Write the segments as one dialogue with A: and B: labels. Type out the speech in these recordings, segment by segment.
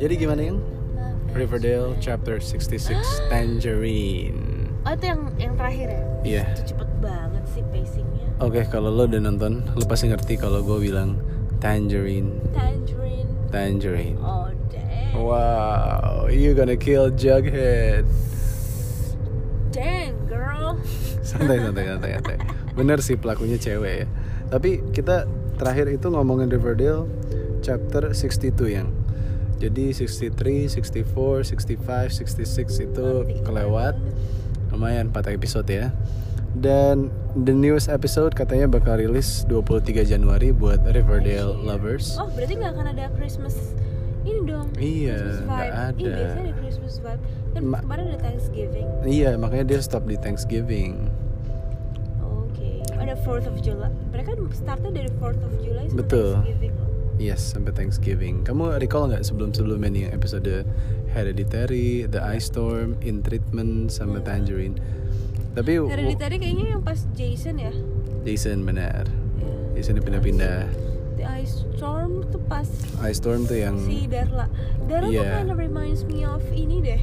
A: Jadi gimana yang? Ah.
B: Love
A: Riverdale
B: is
A: chapter 66 Tangerine.
B: Oh itu yang yang terakhir ya?
A: Iya.
B: Itu cepet banget sih pacingnya.
A: Oke, kalau lo udah nonton, lo pasti ngerti kalau gue bilang Tangerine,
B: Tangerine.
A: Tangerine.
B: Oh dang.
A: Wow, you gonna kill Jughead.
B: Dang girl.
A: santai santai santai santai bener sih pelakunya cewek ya tapi kita terakhir itu ngomongin Riverdale chapter 62 yang jadi 63, 64, 65, 66 itu kelewat lumayan 4 episode ya dan the newest episode katanya bakal rilis 23 Januari buat Riverdale lovers
B: Oh berarti nggak akan ada Christmas ini dong?
A: Iya,
B: Christmas vibe.
A: nggak ada.
B: Ih, biasanya ada Christmas vibe. Kan
A: Ma-
B: kemarin ada Thanksgiving.
A: iya makanya dia stop di Thanksgiving
B: Oke. Ada 4th of July. Mereka startnya dari 4th of July sampai
A: Betul.
B: Thanksgiving loh.
A: Yes, sampai Thanksgiving. Kamu recall nggak sebelum-sebelumnya nih episode Hereditary, The Ice Storm, In Treatment,
B: Hmm.
A: sama Tangerine. Tapi w-
B: Hereditary kayaknya yang pas Jason ya.
A: Jason benar.
B: Ya.
A: Jason pindah-pindah.
B: The Ice Storm tuh pas
A: Ice Storm tuh yang
B: si Darla. Darla tuh
A: Iya.
B: kind of reminds me of ini deh.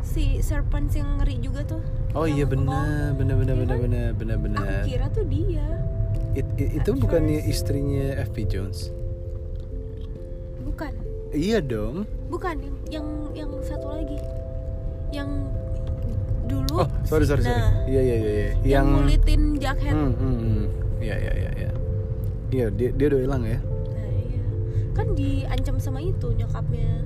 B: Si Serpents yang ngeri juga tuh.
A: Oh
B: Yang
A: iya
B: ngomong.
A: benar, benar
B: Iya
A: benar benar
B: kan?
A: benar benar
B: Aku
A: benar.
B: kira tuh dia.
A: It- it- itu
B: at
A: bukannya
B: first.
A: istrinya FP Jones?
B: Bukan.
A: Iya dong.
B: Bukan yang yang yang satu lagi. Yang dulu
A: Oh, sorry sorry sorry.
B: Nah,
A: Iya iya iya. iya.
B: yang, kan? ngulitin Jughead.
A: Hmm, hmm, hmm. Iya iya iya iya. Iya, dia dia udah hilang ya.
B: Nah, iya. Kan diancam sama itu nyokapnya.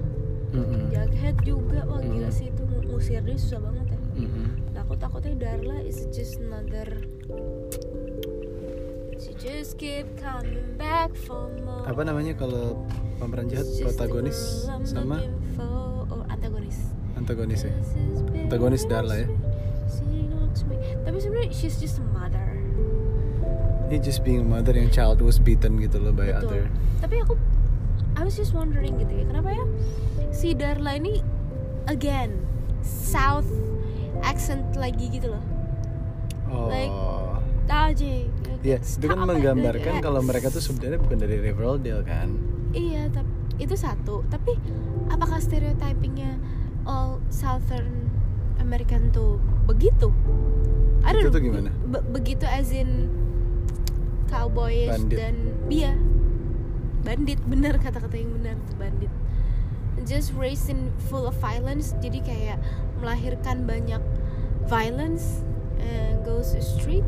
A: Hmm, hmm.
B: Jughead juga wah gila
A: Hmm.
B: sih itu ng- ngusir dia susah banget ya.
A: Hmm, hmm.
B: Takut takutnya Darla is just another She just keep coming back for more.
A: apa namanya kalau pemeran jahat
B: It's Oh. just the
A: protagonis
B: girl I'm
A: sama
B: looking for. Oh, antagonis.
A: antagonis ya
B: This is been
A: Antagonis Darla ya?
B: She knocks me. Tapi sebenarnya she's just a mother.
A: he just being a mother yang child was beaten gitu loh by
B: Betul.
A: other
B: Tapi aku I was just wondering gitu ya, kenapa ya si Darla ini again South accent lagi gitu loh.
A: oh
B: Like- Taji.
A: ya itu kan
B: Apa-
A: menggambarkan
B: eh,
A: kalau mereka tuh sebenarnya bukan dari Riverdale kan
B: Iya, tapi itu satu. Tapi apakah stereotypingnya all Southern American tuh begitu? I don't
A: Itu tuh
B: know.
A: gimana?
B: Be- begitu as in cowboyish
A: Bandit.
B: dan dia bandit bener kata-kata yang benar tuh bandit. Just raised in full of violence, jadi kayak melahirkan banyak violence and goes to street.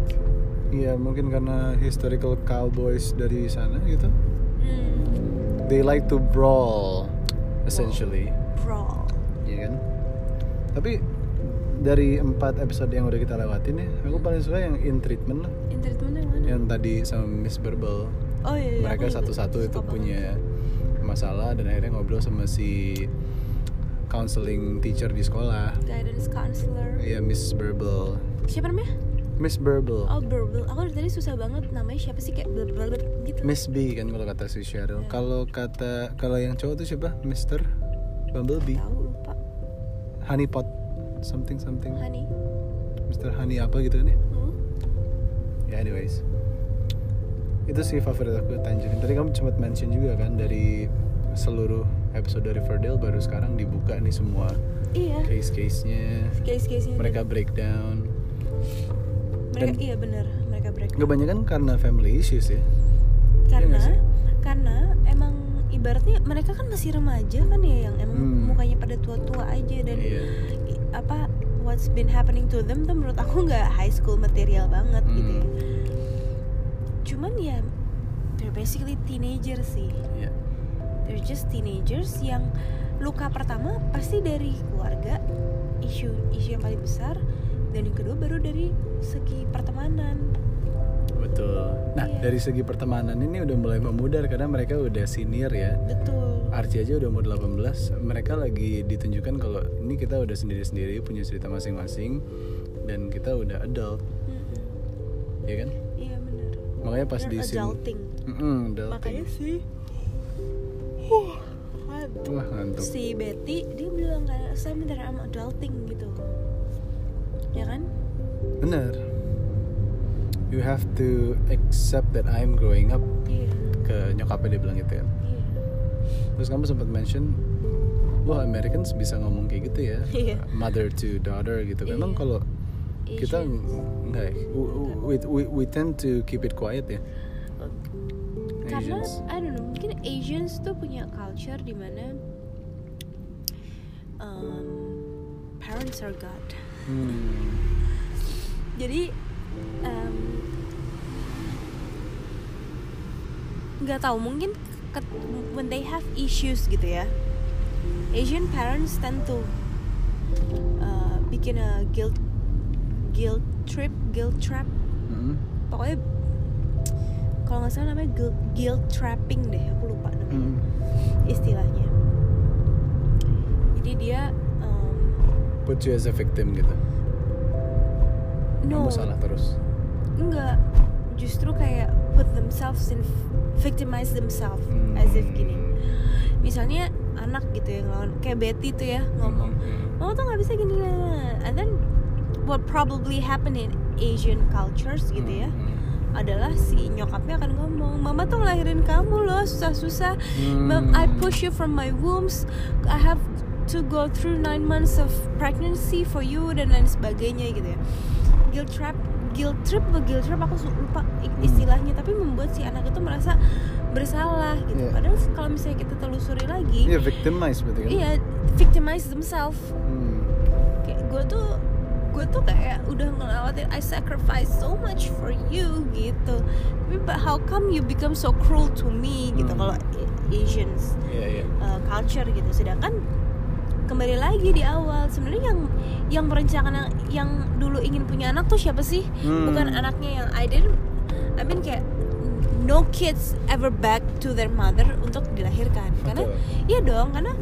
A: Iya mungkin karena historical cowboys dari sana gitu
B: Hmm,
A: they like to brawl essentially
B: brawl.
A: Iya kan tapi dari empat episode yang udah kita lewatin ya aku paling suka yang in treatment lah
B: In treatment yang mana?
A: yang tadi sama Miss Verbal
B: Oh iya, iya, aku
A: mereka
B: juga
A: satu-satu
B: suka
A: itu
B: banget.
A: punya masalah dan akhirnya ngobrol sama si counseling teacher di sekolah
B: guidance counselor
A: ya Miss Burble
B: siapa namanya
A: Miss Burble
B: oh Burble aku dari tadi susah banget namanya siapa sih kayak Burble Burble gitu
A: Miss B kan kalau kata si Cheryl
B: Ya.
A: kalau kata kalau yang cowok tuh siapa Mister Bumblebee
B: tahu lupa
A: Honeypot something something
B: Hani
A: Mister Honey apa gitu kan ya
B: hmm?
A: ya anyways itu sih favorit aku Tangerine tadi kamu sempat mention juga kan dari seluruh episode Riverdale baru sekarang dibuka nih semua
B: iya
A: case-case-nya
B: case case
A: mereka breakdown
B: mereka
A: dan-
B: iya benar mereka break
A: kebanyakan karena family issues ya
B: karena
A: nggak sih?
B: karena emang ibaratnya mereka kan masih remaja kan ya yang emang
A: Hmm.
B: mukanya pada tua-tua aja dan
A: iya
B: i- apa what's been happening to them tuh menurut aku nggak high school material banget gitu ya
A: Hmm.
B: cuman ya they're basically teenager sih
A: iya
B: they're just teenagers yang luka pertama pasti dari keluarga isu isu yang paling besar dan yang kedua baru dari segi pertemanan
A: betul nah
B: Iya.
A: dari segi pertemanan ini udah mulai memudar karena mereka udah senior ya
B: betul
A: Archie aja udah umur 18 mereka lagi ditunjukkan kalau ini kita udah sendiri-sendiri punya cerita masing-masing dan kita udah adult
B: Mm-mm.
A: ya kan
B: iya benar
A: makanya pas
B: They're
A: di scene
B: adulting
A: Mm-mm, adulting.
B: makanya sih huh,
A: wah ngantuk
B: si Betty dia bilang kan saya minta I'm adulting gitu ya kan
A: bener you have to accept that I'm growing up
B: iya
A: ke nyokapnya dia bilang gitu kan
B: iya
A: Terus kamu sempat mention, wah Americans bisa ngomong kayak gitu ya,
B: Iya.
A: mother to daughter gitu. Memang
B: Iya.
A: kalau kita
B: Asians.
A: ng- nggak, ya? W- w- we, we, we tend to keep it quiet ya.
B: karena
A: Asians.
B: I don't know mungkin Asians tuh punya culture di mana um, parents are God
A: Hmm.
B: jadi um, nggak tahu mungkin ke- when they have issues gitu ya Asian parents tend to uh, bikin a guilt guilt trip guilt trap
A: Hmm.
B: pokoknya kalau nggak salah namanya guilt, guilt trapping deh aku lupa namanya
A: Hmm.
B: istilahnya jadi dia um,
A: Put you as a victim gitu.
B: no
A: Kamu salah terus.
B: enggak justru kayak put themselves in victimize themselves as if
A: Hmm.
B: gini misalnya anak gitu ya ngelawan kayak Betty tuh ya ngomong
A: Hmm.
B: mama tuh nggak bisa gini lah, lah, lah." and then what probably happen in Asian cultures
A: Hmm,
B: gitu ya adalah si nyokapnya akan ngomong mama tuh ngelahirin kamu loh susah-susah Mom, I
A: Hmm.
B: push you from my wombs. I have to go through nine months of pregnancy for you dan lain sebagainya gitu ya. Guilt trap, guilt trip atau guilt trap aku su- lupa i-
A: Hmm.
B: istilahnya tapi membuat si anak itu merasa bersalah gitu.
A: Iya.
B: Padahal kalau misalnya kita telusuri lagi,
A: Iya, victimize berarti kan?
B: iya victimize themselves.
A: Hmm.
B: Kayak gue tuh gue tuh kayak udah ngelawatin I sacrifice so much for you gitu. Tapi but how come you become so cruel to me gitu
A: Hmm.
B: kalau A- Asians
A: Iya, iya.
B: uh, culture gitu sedangkan kembali lagi di awal sebenarnya yang yang merencanakan yang dulu ingin punya anak tuh siapa sih
A: Hmm.
B: bukan anaknya yang I didn't I mean kayak no kids ever back to their mother untuk dilahirkan karena
A: Betul.
B: ya dong karena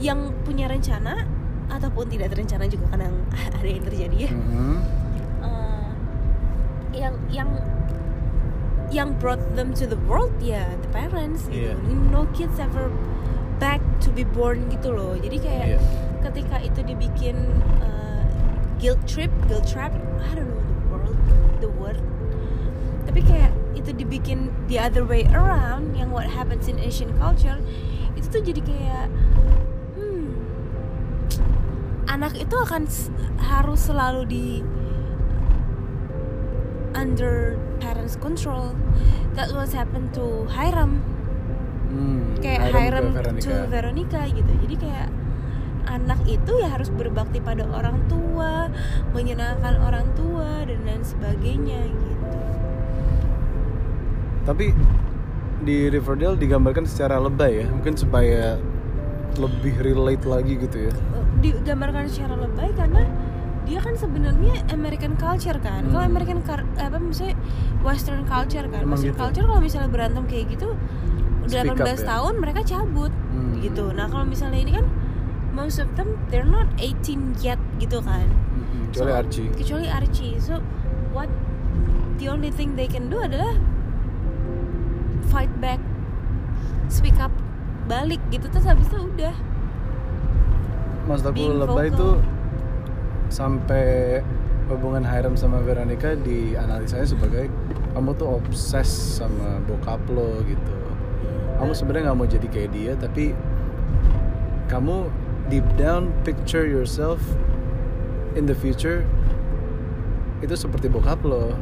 B: yang punya rencana ataupun tidak terencana juga kadang ada yang terjadi ya
A: Mhm.
B: eh, yang yang yang brought them to the world ya the parents gitu.
A: Iya.
B: No kids ever back to be born gitu loh. Jadi kayak
A: Iya.
B: ketika itu dibikin eh, guilt trip, guilt trap, I don't know the world, the word. Tapi kayak itu dibikin the other way around yang what happens in Asian culture itu tuh jadi kayak hmm, anak itu akan s- harus selalu di under parents control. That was happened to Hiram
A: Hmm.
B: kayak
A: Hiram
B: Hiram
A: ke Veronica.
B: to Veronica gitu jadi kayak anak itu ya harus berbakti pada orang tua menyenangkan orang tua dan lain sebagainya gitu
A: Tapi di Riverdale digambarkan secara lebay ya, mungkin supaya lebih relate lagi gitu ya.
B: Eh, digambarkan secara lebay karena dia kan sebenarnya American culture kan kalau
A: Hmm.
B: American car- apa misalnya Western culture kan
A: Emang
B: Western
A: gitu.
B: culture kalau misalnya berantem kayak gitu udah
A: Speak up
B: 18
A: ya?
B: tahun mereka cabut
A: Hmm.
B: gitu nah kalau misalnya ini kan most of them they're not 18 yet gitu kan
A: Mhm. Kecuali
B: So,
A: Archie.
B: kecuali Archie so what the only thing they can do adalah fight back speak up balik gitu terus habis itu udah
A: Maksud aku
B: being
A: lebay
B: vocal.
A: itu sampai hubungan Hiram sama Veronica dianalisanya sebagai kamu tuh obses sama bokap lo gitu. Kamu sebenarnya nggak mau jadi kayak dia, tapi kamu deep down picture yourself in the future itu seperti bokap lo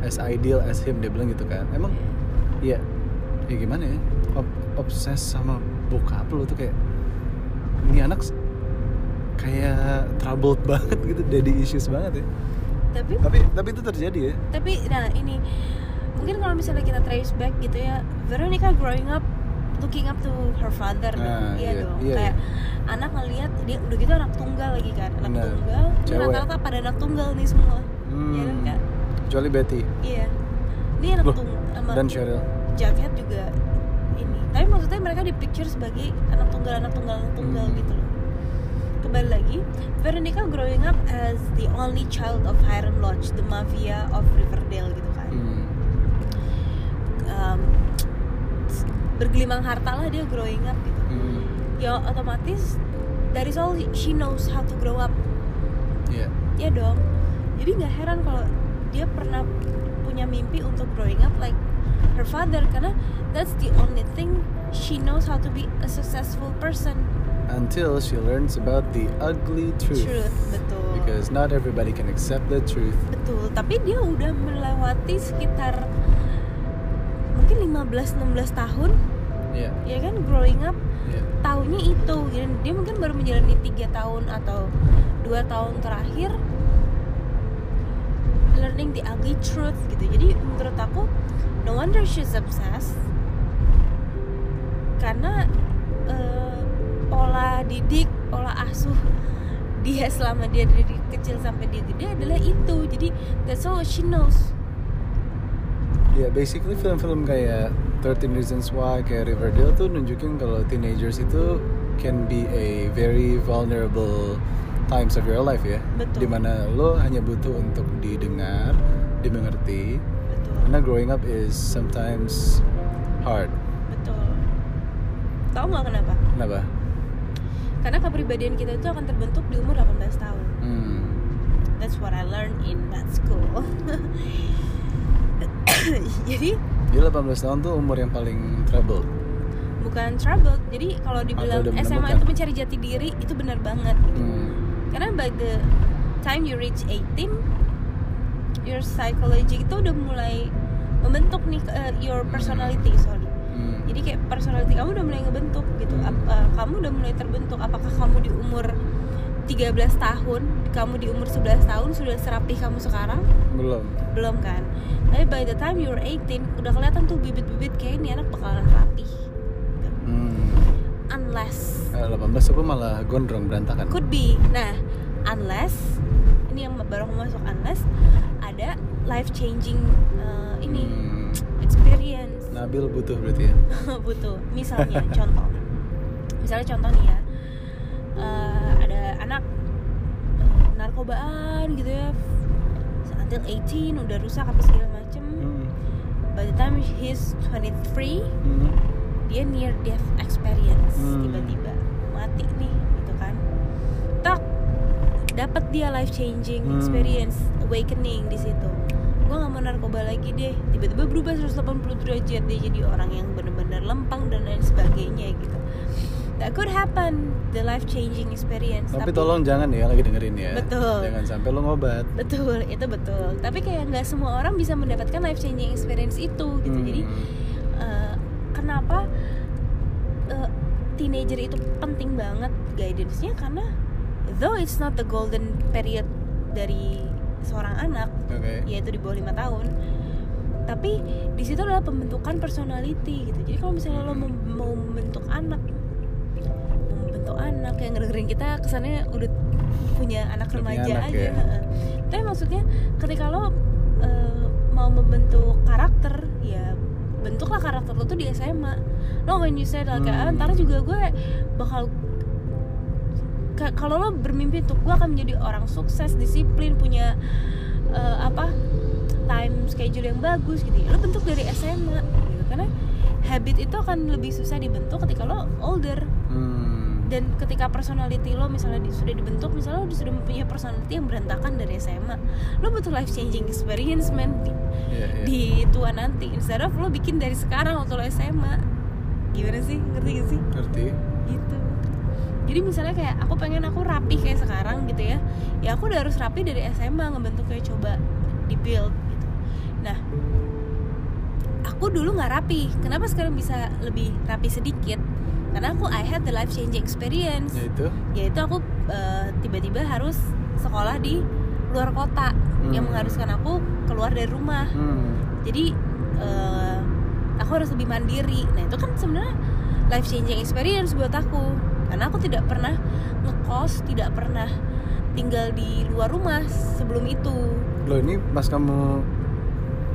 A: as ideal as him dia bilang gitu kan emang Iya. Ya gimana ya? Ob- obses sama bokap lu tuh kayak ini anak s- kayak troubled banget gitu, daddy issues banget ya.
B: tapi
A: Tapi tapi itu terjadi ya.
B: tapi nah ini mungkin kalau misalnya kita trace back gitu ya Veronica growing up looking up to her father dong.
A: Ah,
B: iya,
A: iya,
B: dong
A: iya,
B: kayak anak ngelihat dia udah gitu anak tunggal lagi kan anak
A: Benar.
B: tunggal ini
A: Cewek.
B: rata-rata pada anak tunggal nih semua iya kan
A: Hmm.
B: Kak?
A: Kecuali Betty
B: iya ini anak
A: Loh,
B: tunggal sama
A: dan Cheryl.
B: Jughead juga ini tapi maksudnya mereka di picture sebagai anak tunggal anak tunggal anak tunggal
A: Hmm.
B: gitu loh kembali lagi Veronica growing up as the only child of Hiram Lodge the mafia of Riverdale gitu kan
A: Hmm.
B: Um, bergelimang harta lah dia growing up gitu
A: Hmm.
B: ya otomatis dari all she knows how to grow up
A: Iya.
B: ya dong jadi nggak heran kalau dia pernah punya mimpi untuk growing up like her father karena that's the only thing she knows how to be a successful person.
A: until she learns about the ugly truth.
B: betul.
A: Because not everybody can accept the truth.
B: Betul, tapi dia udah melewati sekitar mungkin 15-16 tahun
A: Yeah,
B: ya kan growing up
A: yeah,
B: taunya itu dan dia mungkin baru menjalani tiga tahun atau dua tahun terakhir learning the ugly truth gitu jadi menurut aku no wonder she's obsessed karena eh, pola didik pola asuh dia selama dia dari kecil sampai dia gede adalah itu jadi that's all she knows
A: yeah. Basically film-film kayak 13 Reasons Why, kayak Riverdale tuh nunjukin kalau teenagers itu can be a very vulnerable times of your life ya.
B: Betul.
A: Dimana lo hanya butuh untuk didengar, dimengerti.
B: betul
A: Karena growing up is sometimes hard.
B: betul tau nggak kenapa
A: Kenapa?
B: karena kepribadian kita itu akan terbentuk di umur 18 tahun
A: Hmm.
B: That's what I learned in that school. jadi
A: Dia 18 tahun tuh umur yang paling troubled.
B: bukan trouble. Jadi kalau dibilang
A: Atau udah
B: SMA
A: menemukan.
B: itu mencari jati diri itu benar banget. gitu.
A: Hmm.
B: Karena by the time you reach 18, your psychology itu udah mulai membentuk nih eh, your personality, sorry.
A: Hmm.
B: Jadi kayak personality kamu udah mulai ngebentuk gitu. Ap- eh, kamu udah mulai terbentuk apakah kamu di umur 13 tahun, kamu di umur 11 tahun sudah serapi kamu sekarang
A: Belum.
B: belum kan tapi by the time you're 18 udah kelihatan tuh bibit-bibit kayak ini anak bakalan rapi Gitu.
A: Hmm.
B: unless
A: Eh, 18 aku malah gondrong berantakan.
B: could be nah unless ini yang baru mau masuk unless ada life changing uh, ini
A: Hmm, Nah.
B: experience
A: Nabil butuh berarti ya.
B: butuh misalnya contoh misalnya contoh nih ya eh, ada anak eh, narkobaan gitu ya until 18 udah rusak apa segala macem
A: Hmm.
B: by the time he's 23
A: Hmm.
B: dia near death experience
A: Hmm.
B: tiba-tiba mati nih gitu kan tak dapat dia life changing
A: Hmm.
B: experience awakening di situ gue nggak mau narkoba lagi deh tiba-tiba berubah 180 derajat dia jadi orang yang bener-bener lempeng dan lain sebagainya gitu that could happen the life changing experience
A: Tapi tolong jangan ya lagi dengerin ya.
B: Betul.
A: Jangan sampai lo ngobat.
B: betul itu betul tapi kayak nggak semua orang bisa mendapatkan life changing experience itu gitu
A: Hmm.
B: jadi eh, kenapa eh, teenager itu penting banget guidance-nya karena though it's not the golden period dari seorang anak
A: Oke.
B: yaitu di bawah lima tahun tapi di situ adalah pembentukan personality gitu jadi kalau misalnya
A: Mm-hmm.
B: lo mem- mau membentuk anak mau membentuk anak yang dengerin kita kesannya udah punya anak
A: Udah punya
B: remaja
A: anak
B: aja
A: ya.
B: heeh. tapi maksudnya ketika lo eh, mau membentuk karakter ya bentuklah karakter lo tuh di SMA lo when you say like
A: Hmm.
B: "Ah, ntar juga gue bakal Ka- kalau lo bermimpi untuk gue akan menjadi orang sukses disiplin punya eh, apa time schedule yang bagus gitu ya. lo bentuk dari SMA gitu karena habit itu akan lebih susah dibentuk ketika lo older
A: Hmm.
B: dan ketika personality lo misalnya di- sudah dibentuk misalnya lo sudah mempunyai personality yang berantakan dari SMA lo butuh life changing experience man di,
A: Iya, iya.
B: di tua nanti instead of lo bikin dari sekarang waktu lo SMA gimana sih ngerti gak sih
A: Ngerti?
B: gitu jadi misalnya kayak aku pengen aku rapi kayak sekarang gitu ya ya aku udah harus rapi dari SMA ngebentuk kayak coba di build gitu nah aku dulu nggak rapi kenapa sekarang bisa lebih rapi sedikit karena aku I had the life changing experience
A: Yaitu
B: yaitu aku eh, tiba-tiba harus sekolah di luar kota yang
A: Hmm.
B: mengharuskan aku keluar dari rumah
A: hmm.
B: jadi eh, aku harus lebih mandiri nah itu kan sebenarnya life changing experience buat aku karena aku tidak pernah ngekos tidak pernah tinggal di luar rumah sebelum itu
A: Lo ini pas kamu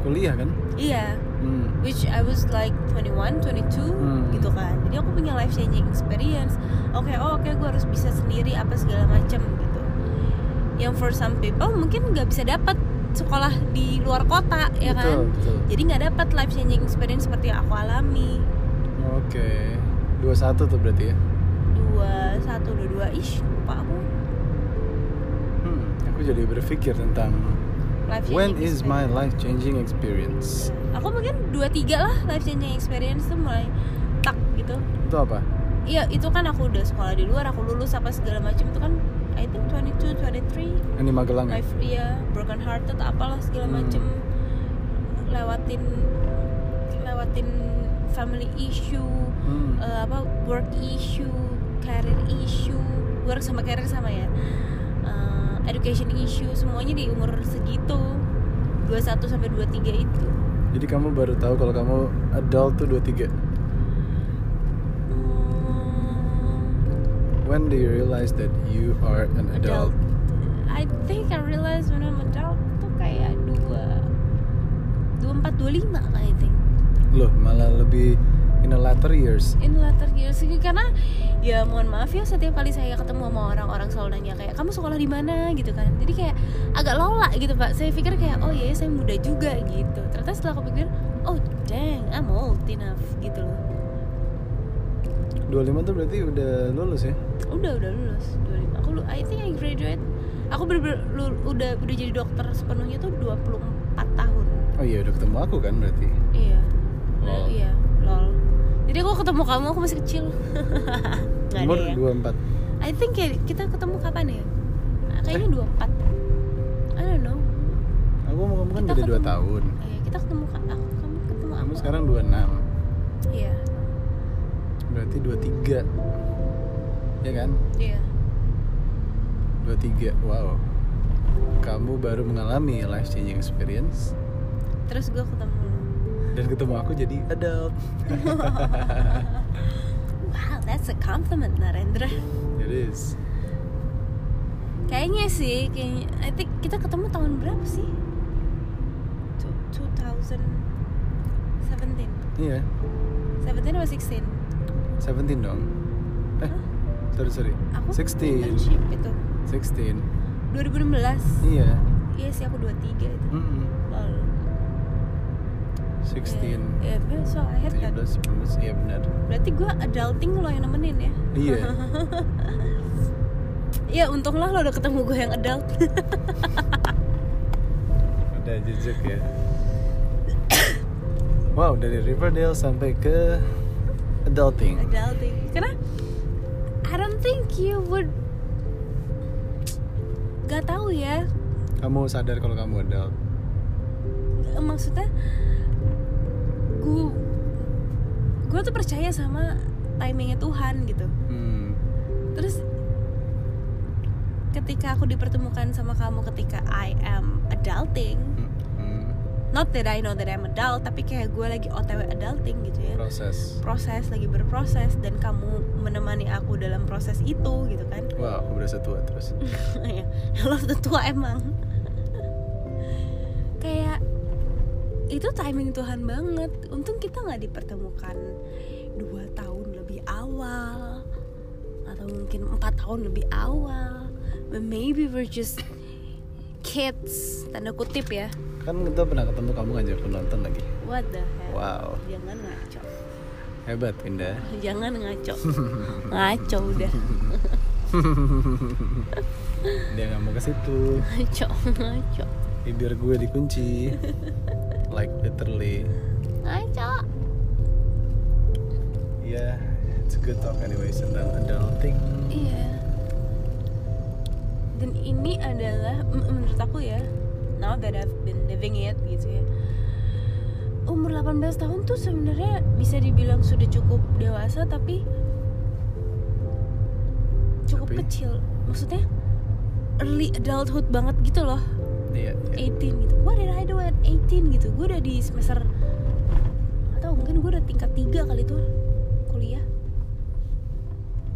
A: kuliah kan?
B: iya
A: Hmm.
B: which I was like 21, 22
A: Hmm.
B: gitu kan. Jadi aku punya life changing experience. Oke, oh oke gue harus bisa sendiri apa segala macam gitu. Yang for some people mungkin nggak bisa dapat sekolah di luar kota ya kan.
A: betul, betul.
B: Jadi nggak dapat life changing experience seperti yang aku alami.
A: Oke. 21 tuh berarti ya.
B: Dua satu dua dua ish lupa aku.
A: Hmm. Aku jadi berpikir tentang
B: life
A: When
B: changing
A: is my life changing experience?
B: aku mungkin dua tiga lah life changing experience tuh mulai tak gitu
A: Itu apa?
B: iya itu kan aku udah sekolah di luar aku lulus apa segala macam itu kan I think 22 23
A: Ini Magelang ya?
B: life iya broken hearted apalah segala
A: Hmm.
B: macem lewatin lewatin family issue
A: Hmm.
B: eh, apa work issue, career issue, work sama career sama ya, Eh, education issue semuanya di umur segitu 21 sampai 23 itu.
A: Jadi kamu baru tahu kalau kamu adult tuh 23.
B: Hmm,
A: When do you realize that you are an adult?
B: Eh, I think I realize when I'm adult tuh kayak dua 24 25 I think.
A: Loh, malah lebih in the latter years.
B: in later years karena ya mohon maaf ya setiap kali saya ketemu sama orang-orang selalu nanya kayak kamu sekolah di mana gitu kan jadi kayak agak lola gitu pak saya pikir kayak oh iya saya muda juga gitu ternyata setelah aku pikir oh dang I'm old enough gitu loh
A: 25 tuh berarti udah lulus ya?
B: udah udah lulus 25 aku lu- I think I graduate aku bener-bener lu- udah udah jadi dokter sepenuhnya tuh 24 tahun
A: Oh iya, udah ketemu aku kan berarti.
B: iya
A: Lol.
B: Lalu, iya lol jadi aku ketemu kamu aku masih kecil Nggak
A: Umur
B: ada ya. I
A: 24.
B: think ya, kita ketemu kapan ya? Ah, Kayaknya 24 I don't know
A: Aku mau kamu kan
B: Kita
A: beda 2
B: ketemu.
A: tahun.
B: Eh, Kita ketemu ka- aku, Kamu ketemu aku
A: Kamu sekarang 26.
B: Iya
A: Berarti 23. Ya kan?
B: Iya
A: 23. Wow. Kamu baru mengalami life changing experience
B: Terus gue ketemu lu.
A: dan ketemu aku jadi adult.
B: Wow, that's a compliment, Narendra
A: It is.
B: Kayaknya sih, kayaknya I think kita ketemu tahun berapa sih? Tu- 2017
A: Iya,
B: 17 atau 16?
A: 17 dong. Eh,
B: Hah?
A: sorry sorry.
B: Aku
A: 16.
B: internship itu
A: 16.
B: 2016
A: Iya.
B: Iya sih, aku 23 itu
A: Mm-mm.
B: Lol.
A: 16.
B: Eh, eh, so I had that
A: 17, 19. Iya benar.
B: Berarti gue adulting lo yang nemenin ya
A: Iya.
B: Ya untunglah lo udah ketemu gue yang adult
A: Udah jejak ya. Wow, dari Riverdale sampai ke adulting.
B: Adulting Karena I don't think you would Gak tahu ya
A: Kamu sadar kalau kamu adult.
B: Eh, Maksudnya Gue Gue tuh percaya sama timingnya Tuhan gitu
A: Hmm.
B: Terus Ketika aku dipertemukan sama kamu ketika I am adulting
A: Hmm, hmm.
B: Not that I know that I'm adult Tapi kayak gue lagi otw adulting gitu ya
A: Proses.
B: proses lagi berproses dan kamu menemani aku dalam proses itu gitu kan
A: Wow, aku berasa tua terus.
B: ya lo udah tua emang kayak itu timing Tuhan banget untung kita nggak dipertemukan dua tahun lebih awal atau mungkin empat tahun lebih awal but maybe we're just kids tanda kutip ya
A: Kan kita pernah ketemu kamu ngajak aku nonton lagi.
B: what the hell
A: Wow,
B: jangan ngaco
A: hebat Indah.
B: jangan ngaco ngaco udah
A: Dia nggak mau ke situ.
B: ngaco ngaco
A: Bibir gue dikunci. Like literally.
B: ngaco
A: Yeah, Iya, it's a good talk anyways tentang adulting.
B: iya dan ini adalah m- menurut aku ya now that I've been living it gitu ya umur 18 tahun tuh sebenarnya bisa dibilang sudah cukup dewasa tapi cukup
A: Tapi?
B: kecil maksudnya early adulthood banget gitu loh
A: Iya. iya.
B: 18 gitu What did I do at 18 gitu Gue udah di semester Atau mungkin gue udah tingkat 3 kali tuh Kuliah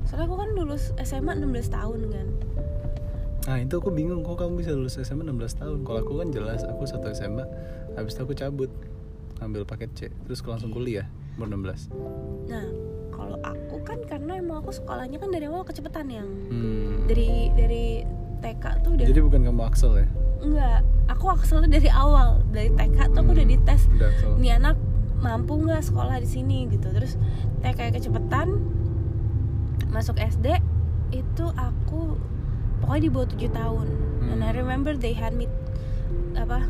B: Soalnya aku kan lulus SMA 16 tahun kan
A: Nah itu aku bingung kok kamu bisa lulus SMA 16 tahun. Kalau aku kan jelas aku satu SMA. Habis itu aku cabut ambil paket C terus aku langsung kuliah umur 16.
B: Nah kalau aku kan karena emang aku sekolahnya kan dari awal kecepatan yang
A: Hmm.
B: Dari dari TK tuh udah
A: Jadi bukan kamu Axel ya?
B: Enggak Aku akselnya dari awal Dari TK tuh aku udah
A: Hmm.
B: dites
A: Udah Axel.
B: Ini anak mampu nggak sekolah di sini gitu Terus TK kecepatan Masuk SD Itu aku Pokoknya di bawah 7 tahun
A: Hmm.
B: And I remember they had me apa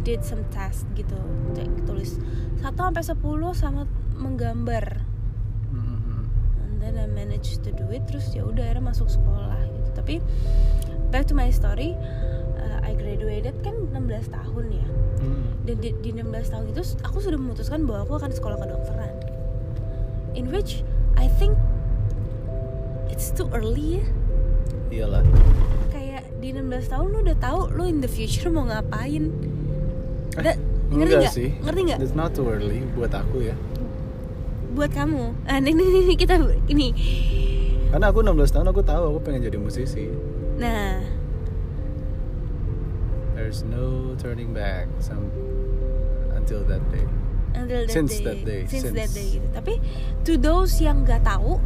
B: did some task gitu cek tulis satu sampai 10 sama menggambar
A: Mhm.
B: and then I managed to do it terus ya udah akhirnya masuk sekolah gitu tapi back to my story uh, I graduated kan 16 tahun ya
A: Mhm.
B: dan di, di 16 tahun itu aku sudah memutuskan bahwa aku akan sekolah kedokteran in which I think it's too early ya
A: iyalah
B: kayak di 16 tahun lu udah tahu lu in the future mau ngapain
A: Eh,
B: Da- ngerti
A: enggak
B: nggak?
A: sih
B: Ngerti nggak?
A: it's not too early buat aku ya
B: buat kamu ah, ini, ini, ini kita ini
A: karena aku 16 tahun aku tahu aku pengen jadi musisi
B: nah
A: there's no turning back some until that day
B: until that
A: Since
B: day,
A: that day,
B: since,
A: since.
B: that day gitu tapi to those yang nggak tahu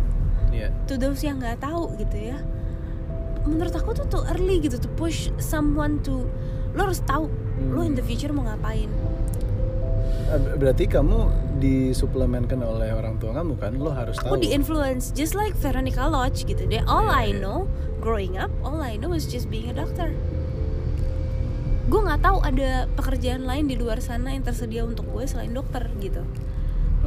A: yeah
B: to those yang nggak tahu gitu ya menurut aku tuh too early gitu to push someone to lo harus tahu lo in the
A: Hmm.
B: future mau ngapain
A: Eh, berarti kamu disuplemenkan oleh orang tua kamu kan lo harus
B: aku
A: tahu
B: di influence just like Veronica Lodge gitu deh all
A: Iya,
B: I
A: iya.
B: know growing up all I know is just being a doctor gue nggak tahu ada pekerjaan lain di luar sana yang tersedia untuk gue selain dokter gitu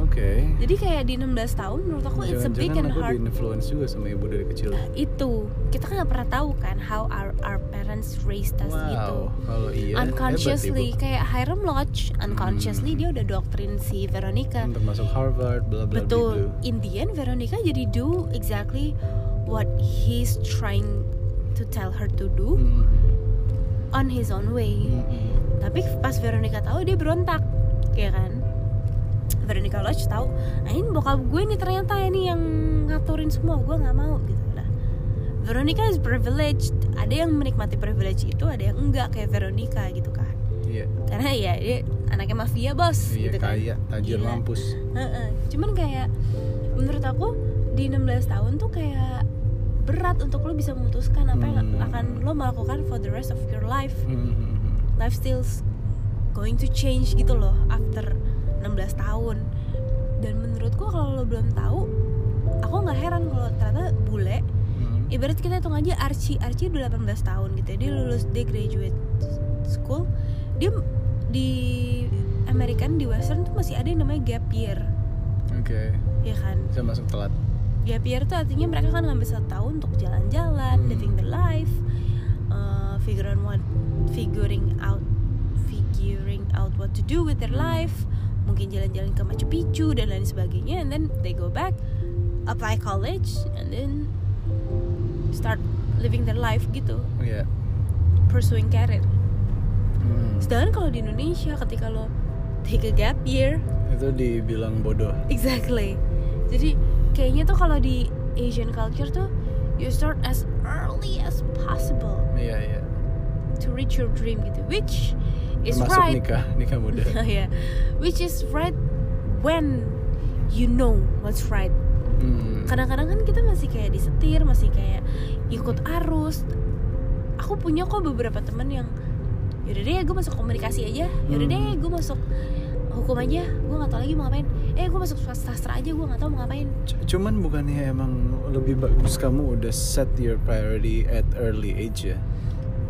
A: oke
B: jadi kayak di 16 tahun menurut aku it's a big and
A: jangan-jangan aku
B: hard Nah,
A: di influence juga sama ibu dari kecil
B: itu kita kan nggak pernah tahu kan how our, our parents raised us gitu
A: wow kalau iya hebat,
B: unconsciously
A: Ibu.
B: kayak Hiram Lodge unconsciously
A: Hmm.
B: dia udah doktrin si Veronica
A: untuk masuk Harvard bla bla
B: betul
A: bla
B: in the end Veronica jadi do exactly what he's trying to tell her to do
A: bla. Hmm.
B: on his own way
A: Hmm.
B: tapi pas Veronica tahu dia berontak ya kan Veronica Lodge tahu "Ah, ini bokap gue nih ternyata ini yang ngaturin semua gue nggak mau gitu lah Veronica is privileged ada yang menikmati privilege itu ada yang enggak kayak Veronica gitu kan
A: iya
B: karena ya dia anaknya mafia bos
A: iya
B: gitu kan
A: kaya tajir
B: Gila.
A: mampus
B: Heeh. cuman kayak menurut aku di 16 tahun tuh kayak berat untuk lo bisa memutuskan apa yang
A: Hmm.
B: akan lo melakukan for the rest of your life
A: Hmm.
B: lifestyle's going to change gitu loh after 16 tahun dan menurutku kalau lo belum tahu aku nggak heran kalau ternyata bule
A: Hmm.
B: ibarat kita hitung aja Archie Archie udah 18 tahun gitu ya dia lulus dia graduate school dia m- di American di Western tuh masih ada yang namanya gap year
A: oke
B: ya kan
A: bisa masuk telat
B: gap year tuh artinya mereka kan ngambil satu tahun untuk jalan-jalan
A: Hmm.
B: living the life uh, figuring what figuring out figuring out what to do with their life mungkin jalan-jalan ke Machu Picchu dan lain sebagainya and then they go back apply college and then start living their life gitu
A: iya
B: pursuing career
A: Hmm.
B: sedangkan kalau di Indonesia ketika lo take a gap year
A: itu dibilang bodoh
B: Exactly. Jadi kayaknya tuh kalau di Asian culture tuh you start as early as possible
A: iya iya
B: to reach your dream gitu, which is
A: termasuk
B: right.
A: nikah nikah muda
B: yeah. Which is right when you know what's right.
A: Hmm.
B: Kadang-kadang kan kita masih kayak disetir, masih kayak ikut arus. Aku punya kok beberapa temen yang yaudah deh gue masuk komunikasi aja yaudah
A: Hmm.
B: deh gue masuk hukum aja gue nggak tahu lagi mau ngapain eh gue masuk sastra aja gue nggak tahu mau ngapain
A: C- Cuman bukannya emang lebih bagus kamu udah set your priority at early age ya?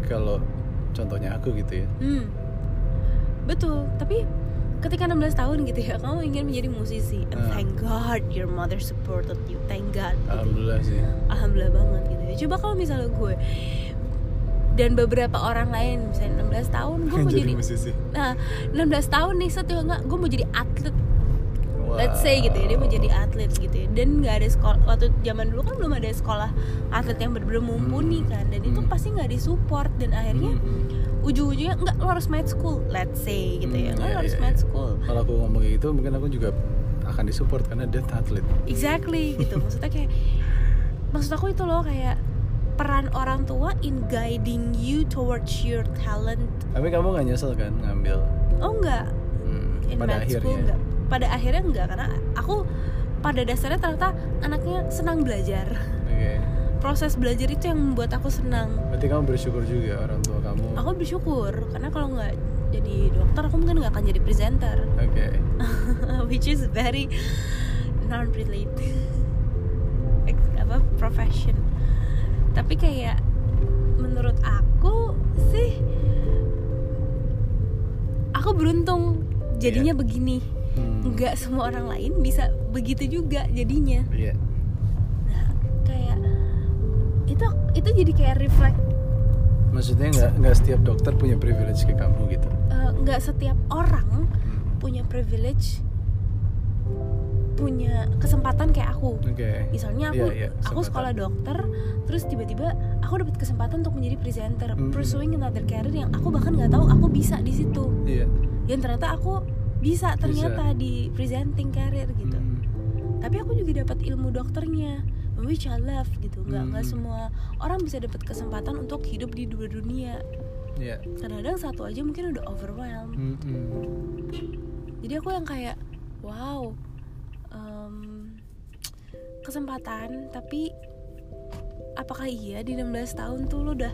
A: Kalau contohnya aku gitu ya.
B: Hmm. Betul, tapi ketika 16 tahun gitu ya, kamu ingin menjadi musisi. And
A: Ah.
B: thank God your mother supported you. Thank God. Gitu.
A: Alhamdulillah sih.
B: Alhamdulillah banget gitu ya. Coba kalau misalnya gue dan beberapa orang lain misalnya 16 tahun gue mau jadi,
A: musisi.
B: nah 16 tahun nih satu enggak gue mau jadi atlet
A: Wow.
B: let's say gitu ya dia mau jadi atlet gitu ya dan nggak ada sekolah waktu zaman dulu kan belum ada sekolah atlet yang benar-benar mumpuni
A: Hmm.
B: kan dan itu
A: Hmm.
B: pasti nggak disupport dan akhirnya
A: Hmm.
B: ujung-ujungnya enggak lo harus med school let's say gitu ya
A: Hmm,
B: enggak
A: iya,
B: lo harus
A: iya,
B: med
A: iya.
B: school
A: Kalau aku ngomong kayak gitu mungkin aku juga akan disupport karena dia atlet.
B: exactly gitu maksudnya kayak maksud aku itu loh kayak peran orang tua in guiding you towards your talent
A: Tapi kamu nggak nyesel kan ngambil?
B: oh enggak
A: Hmm,
B: in
A: Pada
B: med school
A: akhirnya.
B: enggak pada akhirnya enggak karena aku pada dasarnya ternyata anaknya senang belajar
A: Oke.
B: proses belajar itu yang membuat aku senang
A: Berarti kamu bersyukur juga orang tua kamu. Oke.
B: aku bersyukur karena kalau nggak jadi dokter aku mungkin nggak akan jadi presenter which is very non-related Ex- apa profession tapi kayak menurut aku sih aku beruntung jadinya begini
A: Hmm.
B: nggak semua orang lain bisa begitu juga jadinya
A: Iya.
B: nah kayak itu itu jadi kayak reflect
A: Maksudnya nggak nggak setiap dokter punya privilege ke kamu gitu.
B: eh, nggak setiap orang
A: Hmm.
B: punya privilege punya kesempatan kayak aku
A: Oke.
B: misalnya aku
A: Iya, iya,
B: aku
A: kesempatan.
B: sekolah dokter terus tiba-tiba aku dapat kesempatan untuk menjadi presenter
A: Mm-mm.
B: pursuing another career yang aku bahkan nggak tahu aku bisa di situ
A: Iya.
B: dan ternyata aku bisa ternyata di presenting career gitu
A: Hmm.
B: tapi aku juga dapat ilmu dokternya which I love gitu nggak nggak
A: Mm.
B: semua orang bisa dapat kesempatan untuk hidup di dua dunia
A: Iya.
B: kadang-kadang satu aja mungkin udah overwhelmed
A: Hmm, hmm.
B: jadi aku yang kayak wow em, kesempatan tapi apakah iya di 16 tahun tuh lo udah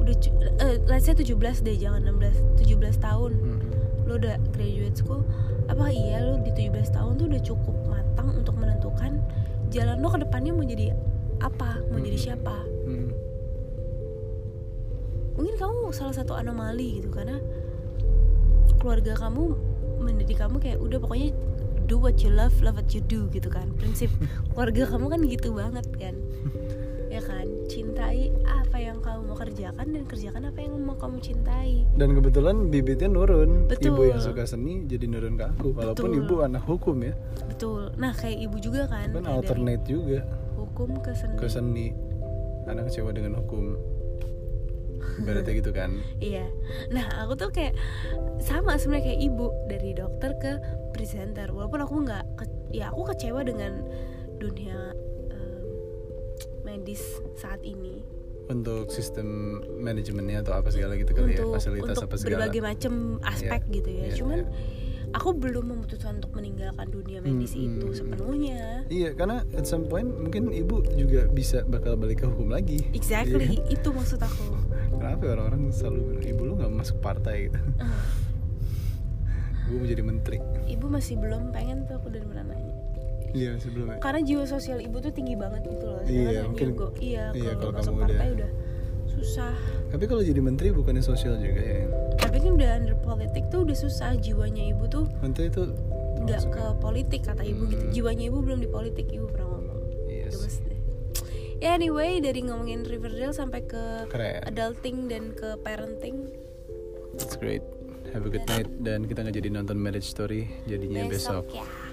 B: udah cu- eh, let's say 17 deh jangan 16 17 tahun
A: Hmm, hmm.
B: lo udah graduate school apakah iya lo di 17 tahun tuh udah cukup matang untuk menentukan jalan lo ke depannya mau jadi apa mau jadi
A: Mm-mm.
B: siapa
A: Hmm.
B: mungkin kamu salah satu anomali gitu karena keluarga kamu mendidik kamu kayak udah pokoknya do what you love love what you do gitu kan prinsip keluarga kamu kan gitu banget kan ya kan cintai apa yang kamu mau kerjakan dan kerjakan apa yang mau kamu cintai
A: Dan kebetulan bibitnya nurun.
B: Betul.
A: Ibu yang suka seni jadi nurun ke aku. Walaupun
B: Betul.
A: ibu anak hukum ya.
B: betul nah kayak ibu juga kan kayak
A: Kan
B: dari
A: alternate juga
B: hukum ke seni
A: ke seni. Anak kecewa dengan hukum. Ibaratnya gitu kan.
B: iya nah aku tuh kayak sama sebenarnya kayak ibu dari dokter ke presenter walaupun aku nggak ke- ya aku kecewa dengan dunia em, medis saat ini
A: Untuk sistem manajemennya atau apa segala gitu kali ya.
B: untuk
A: Fasilitas
B: untuk
A: apa segala.
B: berbagai macam aspek
A: Iya,
B: gitu ya
A: iya,
B: cuman
A: iya.
B: aku belum memutuskan untuk meninggalkan dunia medis itu
A: Hmm, hmm, hmm.
B: sepenuhnya
A: Iya, karena at some point mungkin ibu juga bisa bakal balik ke hukum lagi.
B: exactly
A: Iya.
B: itu maksud aku
A: Kenapa ya orang-orang selalu bilang ibu lu nggak masuk partai gitu?
B: Eh,
A: Gue mau jadi menteri.
B: ibu masih belum pengen tuh aku dari pernah nanya
A: Iya sebelumnya.
B: karena jiwa sosial ibu tuh tinggi banget gitu loh
A: Iya,
B: Sedangkan
A: mungkin-
B: gue- iya,
A: iya,
B: kalau
A: kalau
B: masuk
A: kamu
B: partai
A: udah-
B: udah susah
A: Tapi kalau jadi menteri bukannya sosial juga ya?
B: tapi kan udah under politik tuh udah susah jiwanya ibu tuh
A: Menteri itu ya?
B: nggak ke politik kata ibu gitu
A: Hmm.
B: jiwanya ibu belum di politik ibu pernah ngomong
A: Yes.
B: gemes deh ya anyway dari ngomongin Riverdale sampai ke
A: Keren.
B: adulting dan ke parenting Iya.
A: That's great. Have a good night dan kita nggak jadi nonton Marriage Story jadinya besok.
B: ya